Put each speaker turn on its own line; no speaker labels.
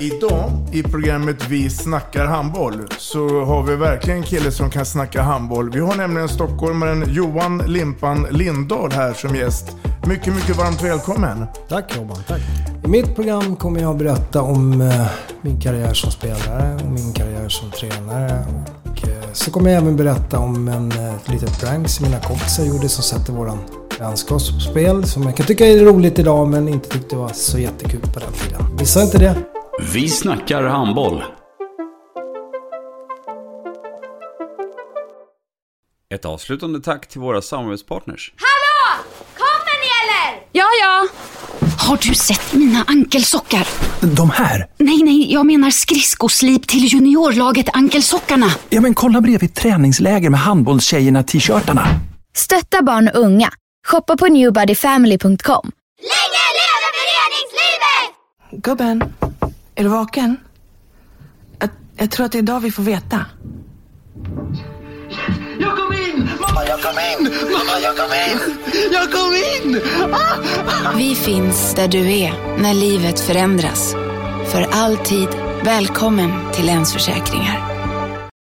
Idag i programmet Vi snackar handboll så har vi verkligen en kille som kan snacka handboll. Vi har nämligen stockholmaren Johan Limpan Lindahl här som gäst. Mycket, mycket varmt välkommen.
Tack Robban, tack. I mitt program kommer jag att berätta om eh, min karriär som spelare och min karriär som tränare. Och, eh, så kommer jag även berätta om en, eh, ett litet prank som mina kompisar gjorde som sätter våran vänskapsspel som jag kan tycka är roligt idag men inte tyckte var så jättekul på den tiden. Missa inte det.
Vi snackar handboll. Ett avslutande tack till våra samarbetspartners.
Hallå! Kommer ni eller?
Ja, ja. Har du sett mina ankelsockar?
De här?
Nej, nej, jag menar skridskoslip till juniorlaget Ankelsockarna.
Ja, men kolla bredvid träningsläger med handbollstjejerna-t-shirtarna.
Stötta barn och unga. Shoppa på newbodyfamily.com.
Länge leve föreningslivet!
Gubben, är du vaken? Jag, jag tror att det är idag vi får veta.
Jag kom in! Mamma, jag kom in! Mamma, jag kom in! Jag kom in! Ah!
Vi finns där du är när livet förändras. För alltid välkommen till Länsförsäkringar.